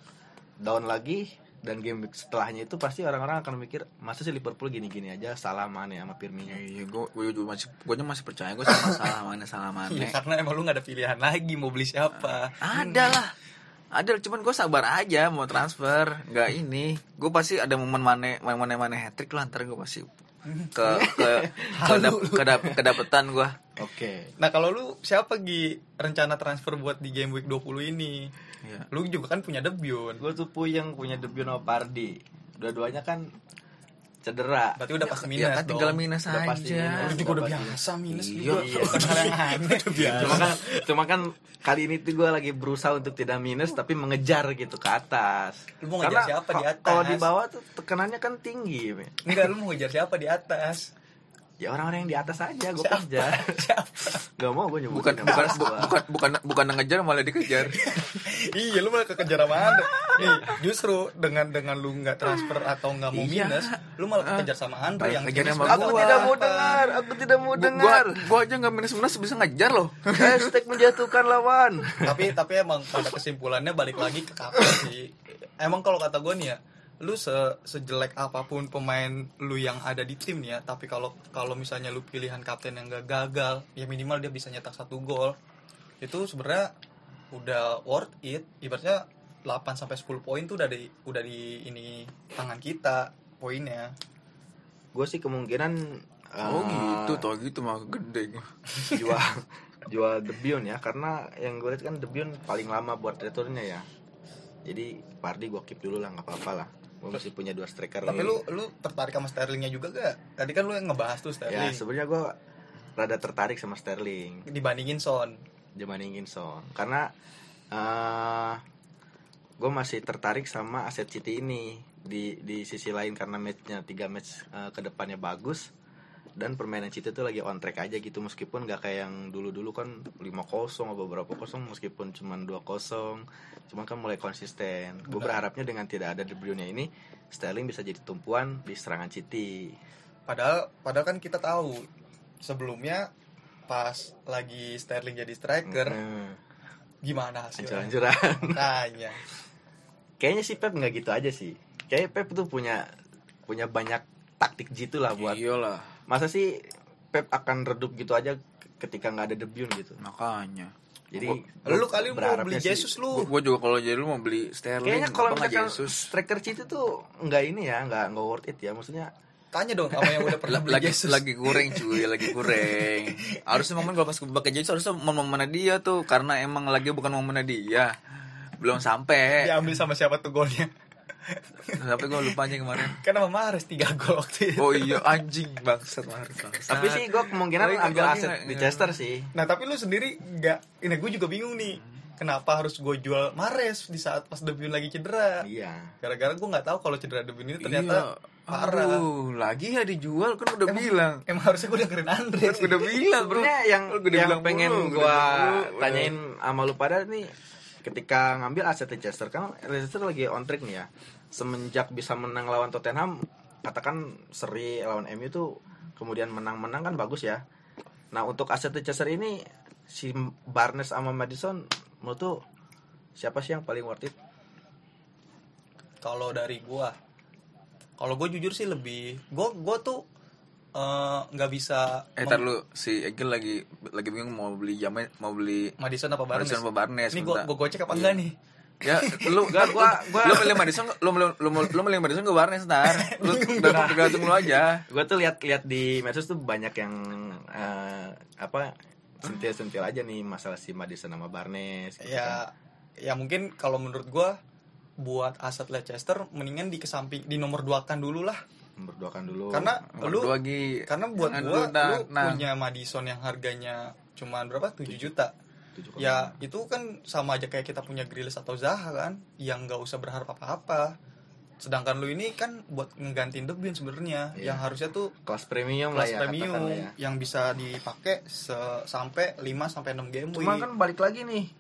Speaker 1: down lagi dan game week setelahnya itu pasti orang-orang akan mikir masa sih Liverpool gini-gini aja salah mana ya sama Firmino.
Speaker 3: Iya, gue juga masih gue masih percaya gue sama salah mana salah mana.
Speaker 2: Iya, karena emang lu nggak ada pilihan lagi mau beli siapa.
Speaker 3: Ada lah. Ada cuman gue sabar aja mau transfer, nggak ini. Gue pasti ada momen mana momen mana hat trick lah ntar gue pasti ke ke kedap, kedap, kedapetan gue.
Speaker 1: Oke.
Speaker 2: Nah kalau lu siapa Gi rencana transfer buat di game week 20 ini?
Speaker 3: Iya.
Speaker 2: Lu juga kan punya debut.
Speaker 1: Gue tuh puyeng punya Debion sama Pardi. Dua-duanya kan cedera.
Speaker 2: Berarti udah pasti minus
Speaker 3: Ya kan tinggal
Speaker 2: dong.
Speaker 3: minus
Speaker 1: Udah pasti
Speaker 3: aja.
Speaker 1: minus.
Speaker 2: Lu juga udah biasa minus
Speaker 3: Iya,
Speaker 2: juga.
Speaker 1: iya.
Speaker 2: Bukan hal yang aneh.
Speaker 1: Cuma kan, cuma kan kali ini tuh gue lagi berusaha untuk tidak minus tapi mengejar gitu ke atas.
Speaker 2: Lu mau ngejar siapa di
Speaker 1: ka-
Speaker 2: atas?
Speaker 1: Kalau di bawah tuh tekenannya kan tinggi. men.
Speaker 2: Enggak, lu mau ngejar siapa di atas?
Speaker 1: Ya orang-orang yang di atas aja gue kejar. Gak mau gue nyebutin
Speaker 3: Bukan
Speaker 1: nama
Speaker 3: bukan
Speaker 1: gua.
Speaker 3: bu- bukan bukan bukan ngejar malah dikejar.
Speaker 2: iya, lu malah kekejar sama Andre. Nih, justru dengan dengan lu nggak transfer atau nggak mau
Speaker 3: Iya.
Speaker 2: minus, lu malah kekejar sama Andre
Speaker 3: Malah
Speaker 2: yang
Speaker 3: kekejar
Speaker 2: minus
Speaker 3: sama
Speaker 2: berapa?
Speaker 1: Aku tidak mau
Speaker 2: Berapa?
Speaker 1: dengar, aku tidak mau
Speaker 3: Gue
Speaker 1: dengar.
Speaker 3: gue aja nggak minus minus bisa ngejar loh.
Speaker 1: Hashtag menjatuhkan lawan.
Speaker 2: tapi tapi emang pada kesimpulannya balik lagi ke kapal sih emang kalau kata gue nih ya lu se- sejelek apapun pemain lu yang ada di tim nih ya tapi kalau kalau misalnya lu pilihan kapten yang gak gagal ya minimal dia bisa nyetak satu gol itu sebenarnya udah worth it ibaratnya 8 sampai 10 poin tuh udah di udah di ini tangan kita poinnya
Speaker 1: Gue sih kemungkinan
Speaker 3: Oh
Speaker 1: eh,
Speaker 3: gitu, tau gitu mah gede gua.
Speaker 1: jual jual Debion ya karena yang gue lihat kan Debion paling lama buat returnnya ya. Jadi Pardi gue keep dulu lah nggak apa-apa lah. Gue masih punya dua striker.
Speaker 2: tapi
Speaker 1: nih.
Speaker 2: lu lu tertarik sama Sterlingnya juga gak tadi kan lu yang ngebahas tuh
Speaker 1: ya
Speaker 2: Sterling
Speaker 1: sebenarnya gue rada tertarik sama Sterling.
Speaker 2: dibandingin Son
Speaker 1: dibandingin Son karena gue masih tertarik sama aset City ini di di sisi lain karena matchnya tiga match eh, kedepannya bagus dan permainan City tuh lagi on track aja gitu meskipun gak kayak yang dulu-dulu kan 5-0 atau beberapa kosong meskipun cuman 2-0 cuman kan mulai konsisten gue
Speaker 2: Benar.
Speaker 1: berharapnya dengan tidak ada De Bruyne ini Sterling bisa jadi tumpuan di serangan City
Speaker 2: padahal padahal kan kita tahu sebelumnya pas lagi Sterling jadi striker
Speaker 3: Hmm.
Speaker 1: Mm,
Speaker 2: gimana hasilnya
Speaker 1: hancur-hancuran
Speaker 2: Makanya
Speaker 1: kayaknya sih Pep nggak gitu aja sih kayak Pep tuh punya punya banyak taktik gitu lah buat
Speaker 3: Iyalah,
Speaker 1: masa sih Pep akan redup gitu aja ketika nggak ada debut gitu
Speaker 3: makanya.
Speaker 1: jadi gua
Speaker 2: lu kali mau
Speaker 1: berharapnya
Speaker 2: beli
Speaker 1: sih-
Speaker 2: Jesus ya?
Speaker 3: Gua,
Speaker 2: lu
Speaker 3: gua juga kalau jadi lu mau beli Sterling,
Speaker 1: kayaknya kalau
Speaker 3: apa nggak
Speaker 1: misalkan
Speaker 3: Jesus?
Speaker 1: striker City tuh nggak ini ya nggak nggak worth it ya maksudnya
Speaker 2: tanya dong sama yang udah pernah
Speaker 3: La-
Speaker 2: beli
Speaker 3: lagi
Speaker 2: Jesus
Speaker 3: lagi goreng cuy lagi goreng harusnya momen kalau pas pakai Jesus harusnya momen momennya dia tuh karena emang lagi bukan momennya dia belum
Speaker 1: Ya.
Speaker 3: sampai
Speaker 2: diambil sama siapa tuh golnya
Speaker 3: sampai gue lupa aja kemarin
Speaker 2: kan sama Mahrez tiga gol waktu itu
Speaker 3: oh iya anjing bangsat Mahrez, bangsat.
Speaker 1: tapi sih gue kemungkinan
Speaker 3: Lagi-
Speaker 1: ambil
Speaker 3: lagi
Speaker 1: aset
Speaker 3: nggak-
Speaker 1: di
Speaker 3: nggak-
Speaker 1: Chester sih
Speaker 2: nah tapi lu sendiri nggak ini gue juga bingung nih kenapa harus gue jual Mahrez di saat pas debut lagi cedera
Speaker 1: iya
Speaker 2: gara-gara gue nggak tahu kalau cedera debut ini
Speaker 3: Iya.
Speaker 2: ternyata parah
Speaker 3: Aduh, lagi ya dijual kan udah bilang
Speaker 2: emang harusnya gue dengerin Andre
Speaker 3: kan
Speaker 2: sih.
Speaker 3: udah bilang bro
Speaker 1: sebenarnya yang
Speaker 3: Lu gede
Speaker 1: yang
Speaker 3: bilang
Speaker 1: pengen
Speaker 3: mulu, gede
Speaker 1: gua
Speaker 3: bilang mulu.
Speaker 1: tanyain sama lu pada nih ketika ngambil aset Leicester kan Leicester lagi on track nih ya semenjak bisa menang lawan Tottenham katakan seri lawan MU tuh kemudian menang-menang kan bagus ya nah untuk aset Leicester ini si Barnes sama Madison menurut tuh siapa sih yang paling worth it
Speaker 2: kalau dari gua kalau gue jujur sih lebih gue gue tuh eh, nggak bisa
Speaker 3: eh tar lu si Egil lagi lagi bingung mau beli jamnya mau beli
Speaker 2: Madison apa Barnes?
Speaker 3: Madison apa Barnes,
Speaker 2: Ini gue
Speaker 3: bentar.
Speaker 2: gue gocek apa enggak nih?
Speaker 3: ya lu
Speaker 1: Gak, gua- gua-
Speaker 3: lu milih Madison lu milih- lu milih- lu milih Madison gue Barnes ntar lu udah tergantung lu aja
Speaker 1: gue tuh lihat-lihat di medsos tuh banyak yang eh, apa sentil-sentil aja nih masalah si Madison sama Barnes
Speaker 3: Iya.
Speaker 1: gitu kan.
Speaker 2: Ya ya mungkin kalau menurut gua buat aset Leicester mendingan di kesamping di nomor dua kan dulu lah
Speaker 1: berdoakan dulu
Speaker 2: karena lu
Speaker 3: Lu lagi
Speaker 2: karena buat
Speaker 3: Jangan
Speaker 2: gua
Speaker 3: dulu, Oh, nah,
Speaker 2: lu
Speaker 3: nah.
Speaker 2: punya Madison yang harganya cuman berapa 7 juta
Speaker 1: 7,5.
Speaker 2: ya itu kan sama aja kayak kita punya Grealish atau Zaha kan yang nggak usah berharap apa-apa sedangkan lu ini kan buat ngegantiin De Bruyne sebenarnya
Speaker 1: Iya.
Speaker 2: yang harusnya tuh
Speaker 1: kelas premium lah
Speaker 2: kelas
Speaker 1: ya
Speaker 2: premium
Speaker 1: katakanlah ya.
Speaker 2: yang bisa dipakai se- sampai 5 sampai 6 game
Speaker 1: cuma
Speaker 2: week.
Speaker 1: kan balik lagi nih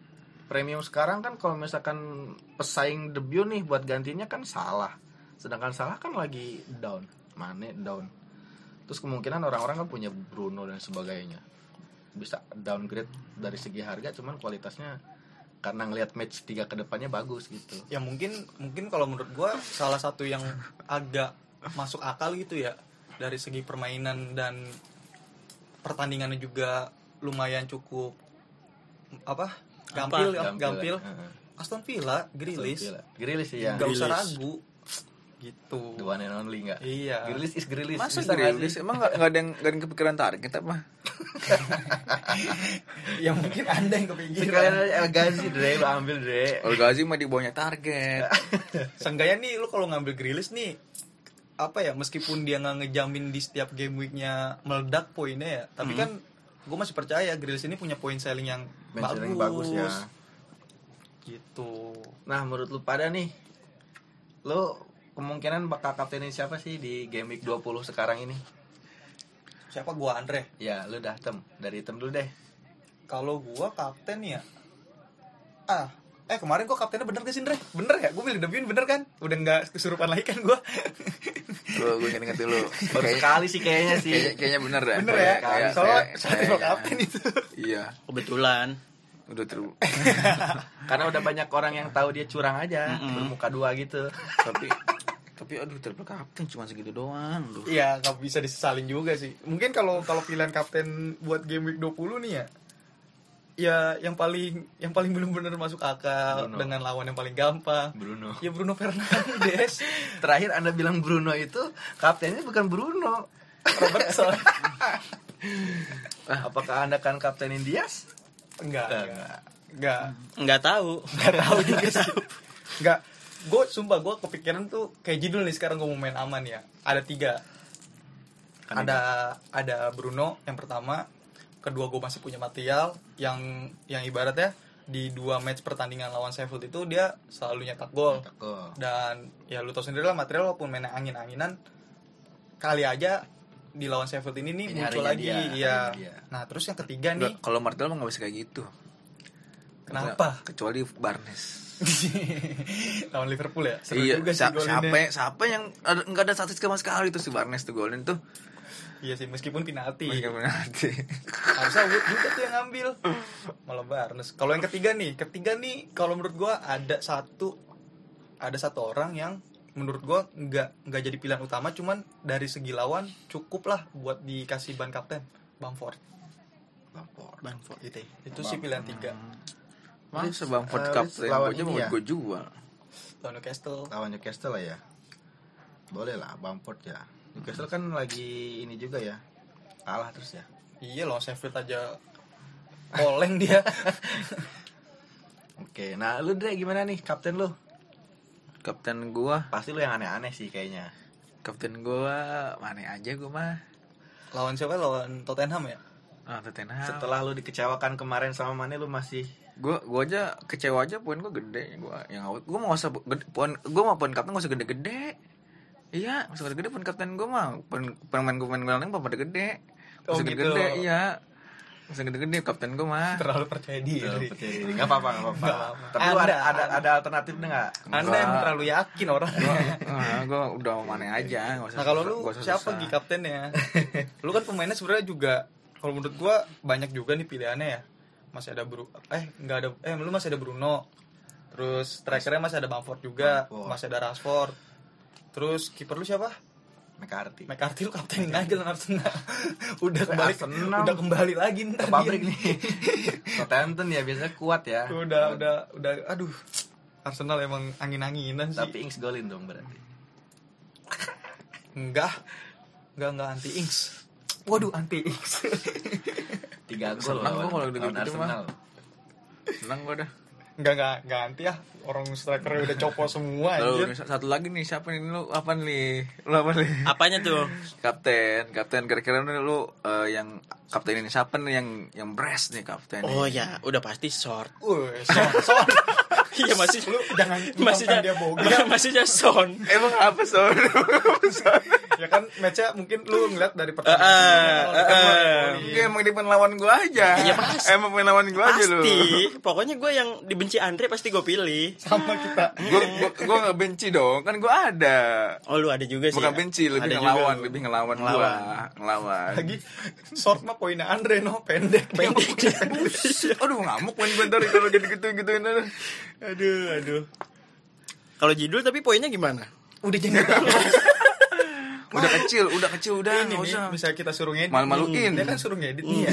Speaker 1: premium sekarang kan kalau misalkan pesaing debut nih buat gantinya kan salah sedangkan salah kan lagi down Mane down terus kemungkinan orang-orang kan punya Bruno dan sebagainya bisa downgrade dari segi harga cuman kualitasnya karena ngelihat match tiga kedepannya bagus gitu
Speaker 2: ya mungkin mungkin kalau menurut gua salah satu yang agak masuk akal gitu ya dari segi permainan dan pertandingannya juga lumayan cukup apa
Speaker 1: Gampil,
Speaker 2: gampil
Speaker 1: ya.
Speaker 2: gampil, gampil.
Speaker 1: Heeh.
Speaker 2: Aston Villa Grealish
Speaker 1: Gila. Grilis sih ya
Speaker 2: nggak usah
Speaker 4: Grealish.
Speaker 2: ragu gitu
Speaker 1: the one and only nggak
Speaker 2: iya
Speaker 1: Grilis is Grilis
Speaker 3: masa Grealish emang gak, gak ada yang gak ada yang kepikiran tarik kita mah
Speaker 2: ya mungkin anda yang kepikiran
Speaker 1: sekalian aja El Ghazi Dre lo ambil Dre
Speaker 3: Olgazi mah di bawahnya target
Speaker 2: Seenggaknya nih lu kalau ngambil Grealish nih apa ya meskipun dia nggak ngejamin di setiap game weeknya meledak poinnya ya tapi kan gue masih percaya Grealish ini punya poin selling yang
Speaker 1: Bench
Speaker 2: bagus,
Speaker 1: yang bagus ya.
Speaker 2: gitu
Speaker 1: Nah, menurut lu pada nih, lu kemungkinan bakal kaptenin siapa sih di game week 20 sekarang ini?
Speaker 2: siapa gua Andre
Speaker 1: Ya, lu dah tem. Dari tem dulu deh.
Speaker 2: kalau gua kapten ya ah eh kemarin gua kaptennya bener gak sih Andre bener ya gue milih The Bune, bener kan udah nggak kesurupan lagi kan gua
Speaker 3: lu gue inget dulu
Speaker 1: Baru
Speaker 3: Kayak-
Speaker 1: sekali sih kayaknya sih.
Speaker 3: kayaknya, kayaknya bener ya
Speaker 2: bener ya
Speaker 3: Kayak-
Speaker 2: soalnya
Speaker 3: kayak-
Speaker 2: soalnya
Speaker 3: kayaknya.
Speaker 2: gua kapten itu
Speaker 3: iya
Speaker 4: Kebetulan.
Speaker 3: udah terus
Speaker 1: Karena udah banyak orang yang tahu dia curang aja, bermuka dua gitu.
Speaker 3: tapi tapi aduh triple kapten cuma segitu doang aduh.
Speaker 2: Iya, nggak bisa disesalin juga sih. Mungkin kalau kalau pilihan kapten buat game week 20 nih ya. ya yang paling yang paling belum benar masuk akal
Speaker 1: Bruno.
Speaker 2: dengan lawan yang paling gampang
Speaker 1: Bruno.
Speaker 2: ya Bruno Fernandes
Speaker 1: Terakhir Anda bilang Bruno itu kaptennya bukan Bruno.
Speaker 2: Robertson
Speaker 1: Apakah Anda kan kaptenin Diaz?
Speaker 2: enggak enggak enggak
Speaker 4: nggak tahu nggak tahu juga tahu
Speaker 2: enggak gue sumpah gue kepikiran tuh kayak judul nih sekarang gue mau main aman ya ada tiga ada ada Bruno yang pertama kedua gue masih punya Martial yang yang ibaratnya di dua match pertandingan lawan Sheffield itu dia selalu nyetak gol dan ya lu tau sendiri lah material walaupun mainnya angin-anginan kali aja di lawan Sheffield ini nih
Speaker 1: Ini
Speaker 2: muncul
Speaker 1: harinya
Speaker 2: lagi
Speaker 1: dia,
Speaker 2: ya
Speaker 1: harinya dia.
Speaker 2: nah terus yang ketiga nih
Speaker 3: Kalau Martial mah nggak bisa kayak gitu.
Speaker 2: Kenapa?
Speaker 3: Kecuali Barnes.
Speaker 2: lawan Liverpool ya seru
Speaker 3: iya,
Speaker 2: juga sih
Speaker 3: sa-
Speaker 2: golinnya.
Speaker 3: siapa siapa yang ada- nggak ada statistik sama sekali tuh si Barnes tuh golin tuh.
Speaker 2: iya sih meskipun penalti
Speaker 3: Mereka penalti.
Speaker 2: harusnya Wood juga tuh yang ngambil malah Barnes kalau yang ketiga nih ketiga nih kalau menurut gua ada satu ada satu orang yang menurut gua nggak nggak jadi pilihan utama cuman dari segi lawan cukup lah buat dikasih ban kapten Bamford
Speaker 1: Lampor.
Speaker 2: Bamford itu itu sih pilihan tiga
Speaker 3: Masa Bamford
Speaker 1: eh,
Speaker 3: kapten
Speaker 1: lawan
Speaker 3: gue aja
Speaker 1: ini
Speaker 3: mau
Speaker 1: ya?
Speaker 3: gue jual.
Speaker 2: lawan Newcastle
Speaker 1: Lawan Newcastle lah ya. Boleh lah Bamford ya. Newcastle kan lagi ini juga ya. Kalah terus ya.
Speaker 2: iya lawan Sheffield aja oleng dia
Speaker 1: Oke, nah lu deh gimana nih kapten lu?
Speaker 3: Kapten gua,
Speaker 1: Pasti lu yang aneh-aneh sih kayaknya.
Speaker 3: kapten gua mana aja gua mah.
Speaker 2: lawan siapa lawan Tottenham ya
Speaker 3: Ah, Tottenham.
Speaker 1: Setelah lu dikecewakan kemarin sama Mane lu masih
Speaker 3: Gue gua aja kecewa aja poin gue gede gua yang awet gue mau usah gede, poin gue mau poin kapten gak usah gede-gede iya gak usah gede-gede poin kapten gue mah poin pemain pemain gue lain pada gede gak
Speaker 2: Oh,
Speaker 3: usah
Speaker 2: gitu.
Speaker 3: gede-gede iya gak usah gede-gede kapten gue mah
Speaker 2: terlalu percaya diri
Speaker 1: Enggak apa-apa, nggak apa-apa.
Speaker 2: Iya, Nggak apa-apa.
Speaker 1: Tapi lu ada
Speaker 2: Anda-
Speaker 1: ada, ada alternatifnya enggak?
Speaker 2: anda yang terlalu yakin orang
Speaker 3: gue Ah, udah mana aja gak usah
Speaker 2: Nah kalau
Speaker 3: susah-
Speaker 2: lu
Speaker 3: gak usah
Speaker 2: siapa
Speaker 3: susah.
Speaker 2: Gi kaptennya? lu kan pemainnya sebenarnya juga kalau menurut gua banyak juga nih pilihannya ya. Masih ada Bru eh nggak ada eh lu masih ada Bruno. Terus strikernya masih ada Bamford juga,
Speaker 1: Bamford.
Speaker 2: masih ada Rashford. Terus kiper lu siapa?
Speaker 1: McCarthy.
Speaker 2: McCarthy lu kaptenin aja lawan Arsenal. udah
Speaker 1: Eh,
Speaker 2: kembali
Speaker 1: Arsenal.
Speaker 2: udah kembali lagi ntar
Speaker 1: Ke pabrik ya?
Speaker 2: dia.
Speaker 1: nih. Southampton ya biasanya kuat ya.
Speaker 2: Udah udah udah aduh. Arsenal emang angin-anginan sih.
Speaker 1: Tapi Ings golin dong berarti.
Speaker 2: enggak. Enggak enggak anti Ings. Waduh anti Ings.
Speaker 1: Tiga gol
Speaker 3: Senang gua
Speaker 1: lawan,
Speaker 3: kalau udah
Speaker 1: lawan
Speaker 3: gitu-gitu mah.
Speaker 1: Arsenal.
Speaker 3: senang gue dah
Speaker 2: Enggak, enggak, ganti ya. Orang strikernya udah copo semua
Speaker 3: Lalu
Speaker 2: anjir.
Speaker 3: satu lagi nih siapa nih lu apa nih lu apa nih
Speaker 4: apanya tuh
Speaker 3: kapten kapten kira-kira nih lu eh, yang kapten ini siapa nih yang yang bres nih kapten nih?
Speaker 4: oh ya udah pasti short
Speaker 2: Uh, son, son.
Speaker 4: iya masih
Speaker 2: Lu jangan
Speaker 4: masihnya
Speaker 2: maksudnya dia boga.
Speaker 4: ma- masihnya son
Speaker 3: Emang apa sorry?
Speaker 2: ya kan matchnya mungkin lu ngeliat dari pertandingan.
Speaker 4: Eh,
Speaker 2: sebelumnya,
Speaker 4: eh,
Speaker 2: kan, lawan
Speaker 4: eh.
Speaker 2: Napoli.
Speaker 3: Iya emang dia pemain lawan gua aja.
Speaker 4: Iya, pasti.
Speaker 3: Emang pemain lawan gua aja lu.
Speaker 4: pasti pokoknya gue yang dibenci Andre pasti gue pilih
Speaker 2: sama kita.
Speaker 3: Gua gua, gua gak benci dong, kan gua ada.
Speaker 4: oh lu ada juga sih
Speaker 3: Bukan
Speaker 4: ya?
Speaker 3: benci, lebih
Speaker 4: Ada juga
Speaker 3: ngelawan,
Speaker 4: lu.
Speaker 3: lebih ngelawan, gua,
Speaker 4: Ngelawan.
Speaker 3: ngelawan.
Speaker 2: Lagi short mah poinnya Andre no pendek.
Speaker 3: Iya,
Speaker 2: Pendek.
Speaker 3: Aduh ngamuk main bentar kalau gitu gitu gituin
Speaker 4: aduh aduh kalau judul tapi poinnya gimana
Speaker 2: udah jangan
Speaker 3: Udah kecil, udah kecil, udah
Speaker 2: ini
Speaker 3: nggak
Speaker 2: nih,
Speaker 3: usah.
Speaker 2: bisa kita suruh ngedit.
Speaker 3: Malu-maluin.
Speaker 2: Dia kan suruh ngedit nih ya.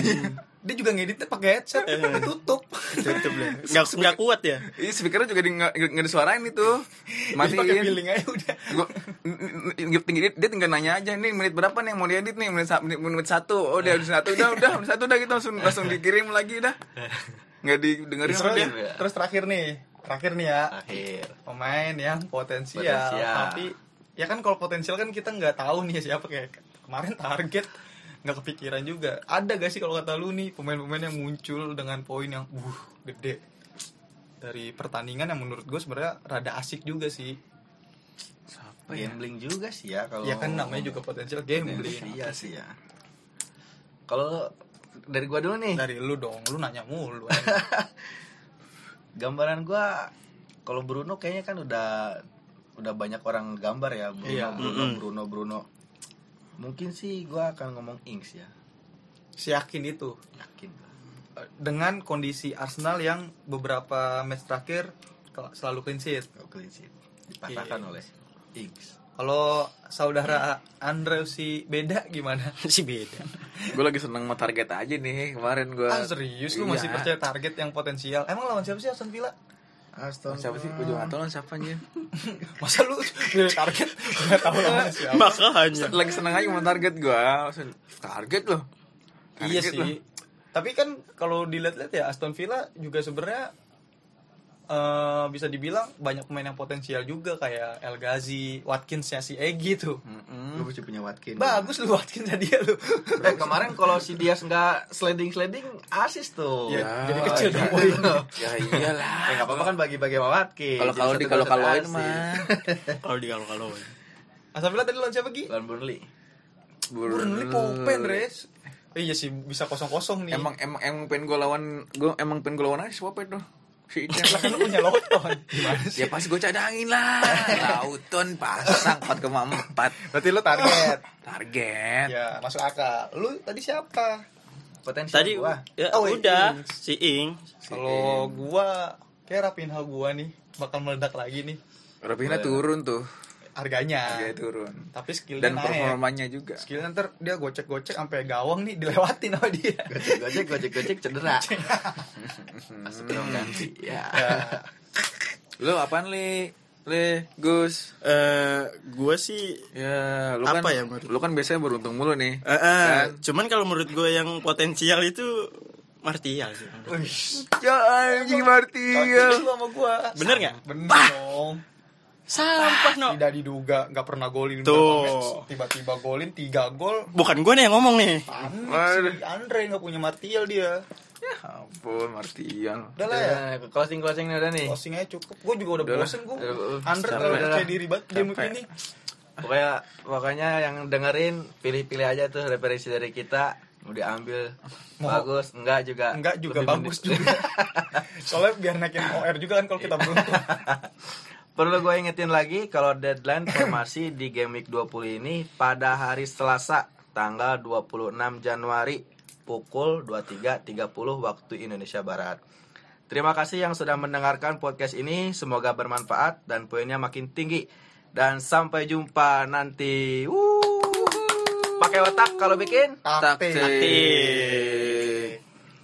Speaker 2: Dia juga ngeditnya pakai headset, ditutup.
Speaker 4: tutup deh nggak nggak kuat ya
Speaker 3: Iya speakernya juga di- nggak nggak disuarain itu.
Speaker 2: Dia pakai
Speaker 3: Matiin.
Speaker 2: feeling aja udah.
Speaker 3: gua n- n- n- tinggi- dia tinggal nanya aja nih menit berapa nih yang mau diedit nih menit, sa- menit, menit satu oh dia menit satu udah udah menit satu udah kita langsung langsung dikirim lagi udah nggak didengerin
Speaker 2: Terus,
Speaker 3: sama dia
Speaker 1: ya?
Speaker 2: terus terakhir nih. Terakhir nih ya.
Speaker 1: Akhir.
Speaker 2: pemain yang potensial,
Speaker 1: Potensial.
Speaker 2: tapi ya kan kalau potensial kan kita nggak tahu nih siapa kayak kemarin target nggak kepikiran juga ada gak sih kalau kata lu nih pemain-pemain yang muncul dengan poin yang uh gede dari pertandingan yang menurut gue sebenarnya rada asik juga sih
Speaker 1: Gambling juga sih ya kalau
Speaker 2: ya kan namanya juga potensial gambling
Speaker 1: Iya sih ya. Kalau dari gua dulu nih.
Speaker 2: dari lu dong lu nanya mulu
Speaker 1: gambaran gua kalau Bruno kayaknya kan udah udah banyak orang gambar ya Bruno
Speaker 2: Iya.
Speaker 1: Bruno,
Speaker 4: Mm-mm.
Speaker 1: Bruno Bruno mungkin sih gua akan ngomong Ings ya
Speaker 2: siakin itu
Speaker 1: yakin gua.
Speaker 2: Eh, dengan kondisi Arsenal yang beberapa match terakhir ke- selalu clean sheet
Speaker 1: kalau clean sheet dipatahkan oleh Ings
Speaker 2: Kalau saudara Andre si beda gimana?
Speaker 4: masih beda
Speaker 3: gue lagi seneng mau target aja nih kemarin gue
Speaker 2: Ah serius lu
Speaker 3: Iya.
Speaker 2: masih percaya target yang potensial? Emang lawan siapa sih Aston Villa?
Speaker 1: Aston
Speaker 3: siapa sih gue juga gak tau lah siapa anjir
Speaker 2: Masa lu milih target nggak tahu lawan
Speaker 3: Iya.
Speaker 2: siapa?
Speaker 4: makanya
Speaker 3: lagi seneng aja mau target gue Langsung, target loh
Speaker 2: Iya
Speaker 3: Target
Speaker 2: sih.
Speaker 3: loh.
Speaker 2: Tapi kan kalau dilihat-lihat ya Aston Villa juga sebenarnya eh, bisa dibilang banyak pemain yang potensial juga kayak El Ghazi, Watkins ya si Egi tuh.
Speaker 3: Hmm.
Speaker 1: Gue masih punya Watkins.
Speaker 2: Bagus lu Watkins ya dia lu.
Speaker 1: Eh kemarin kalau si Dias nggak sliding sliding asis tuh. Ya,
Speaker 2: Iya, jadi kecil
Speaker 1: iya.
Speaker 2: dong.
Speaker 3: ya iyalah
Speaker 1: Eh nggak apa-apa kan bagi-bagi sama Watkins.
Speaker 3: kalau kalau
Speaker 1: Jadi
Speaker 3: di
Speaker 1: satu
Speaker 3: kalau
Speaker 1: dosen
Speaker 3: kalau
Speaker 1: asis.
Speaker 3: mah
Speaker 4: kalau di kalau kalau
Speaker 2: Aston Villa tadi lawan siapa Gi?
Speaker 1: Lawan Burnley.
Speaker 2: Burnley Popen, Res. Eh, iya sih bisa kosong-kosong nih.
Speaker 3: emang emang emang pengen gue lawan gue emang pengen gue lawan aja siapa itu si
Speaker 2: lah
Speaker 3: Ica
Speaker 2: kan lu punya Loton. Gimana sih?
Speaker 3: ya pasti gue cadangin lah lauton pasang 4,4
Speaker 2: Berarti lu target.
Speaker 3: target
Speaker 2: ya, masuk akal. Lu tadi siapa?
Speaker 1: Potensi
Speaker 4: tadi
Speaker 1: gua.
Speaker 4: ya
Speaker 2: Oh, wait,
Speaker 4: udah si Ing
Speaker 2: Kalau gua kayak rapin hal gua nih bakal meledak lagi nih
Speaker 3: Robina turun tuh
Speaker 2: harganya.
Speaker 3: dia turun
Speaker 2: Tapi skillnya naik.
Speaker 3: dan
Speaker 2: ya?
Speaker 3: performanya juga
Speaker 2: Skillnya ntar dia gocek-gocek sampai gawang nih dilewatin sama dia.
Speaker 1: Gojek gojek gojek gojek cedera. Masuk dong ganti. Ya.
Speaker 3: lo apaan li li Gus
Speaker 4: eh gue sih
Speaker 3: ya lu
Speaker 4: Apa
Speaker 3: kan
Speaker 4: ya, menurut-
Speaker 3: lu kan biasanya beruntung mulu nih
Speaker 4: eh, eh, cuman kalau menurut gue yang potensial itu Martial sih
Speaker 2: Wih,
Speaker 3: ya
Speaker 2: Iya.
Speaker 3: anjing Martial
Speaker 2: lu sama gua.
Speaker 4: bener nggak
Speaker 2: Bener dong.
Speaker 4: sampah no
Speaker 2: Tidak diduga, nggak pernah golin
Speaker 4: Tuh.
Speaker 2: berapa match. Tiba-tiba golin 3 gol.
Speaker 4: bukan gue nih yang ngomong nih
Speaker 2: Panik si Andre nggak punya martial dia.
Speaker 3: ya ampun Martial
Speaker 2: Udah lah ya.
Speaker 1: Eh, Closing closing udah nih.
Speaker 2: Closing aja cukup. Gua juga udah
Speaker 3: Udah lah.
Speaker 2: bosen gua.
Speaker 1: Iya. Udah,
Speaker 2: Andre
Speaker 1: capek.
Speaker 2: terlalu
Speaker 1: Udah lah.
Speaker 2: percaya diri banget game
Speaker 3: Capek.
Speaker 2: ini.
Speaker 1: Pokoknya pokoknya yang dengerin pilih-pilih aja tuh referensi dari kita mau diambil bagus enggak juga
Speaker 2: Enggak juga
Speaker 1: Lebih
Speaker 2: bagus
Speaker 1: mending-
Speaker 2: juga. Soalnya biar naikin OR juga kan kalau kita
Speaker 1: Iya.
Speaker 2: beruntung.
Speaker 1: Perlu gue ingetin lagi kalau deadline formasi di game week 20 ini pada hari Selasa tanggal 26 Januari pukul 23.30 waktu Indonesia Barat. Terima kasih yang sudah mendengarkan podcast ini, semoga bermanfaat dan poinnya makin tinggi. Dan sampai jumpa nanti. Wuh. Pakai otak kalau bikin.
Speaker 3: taktik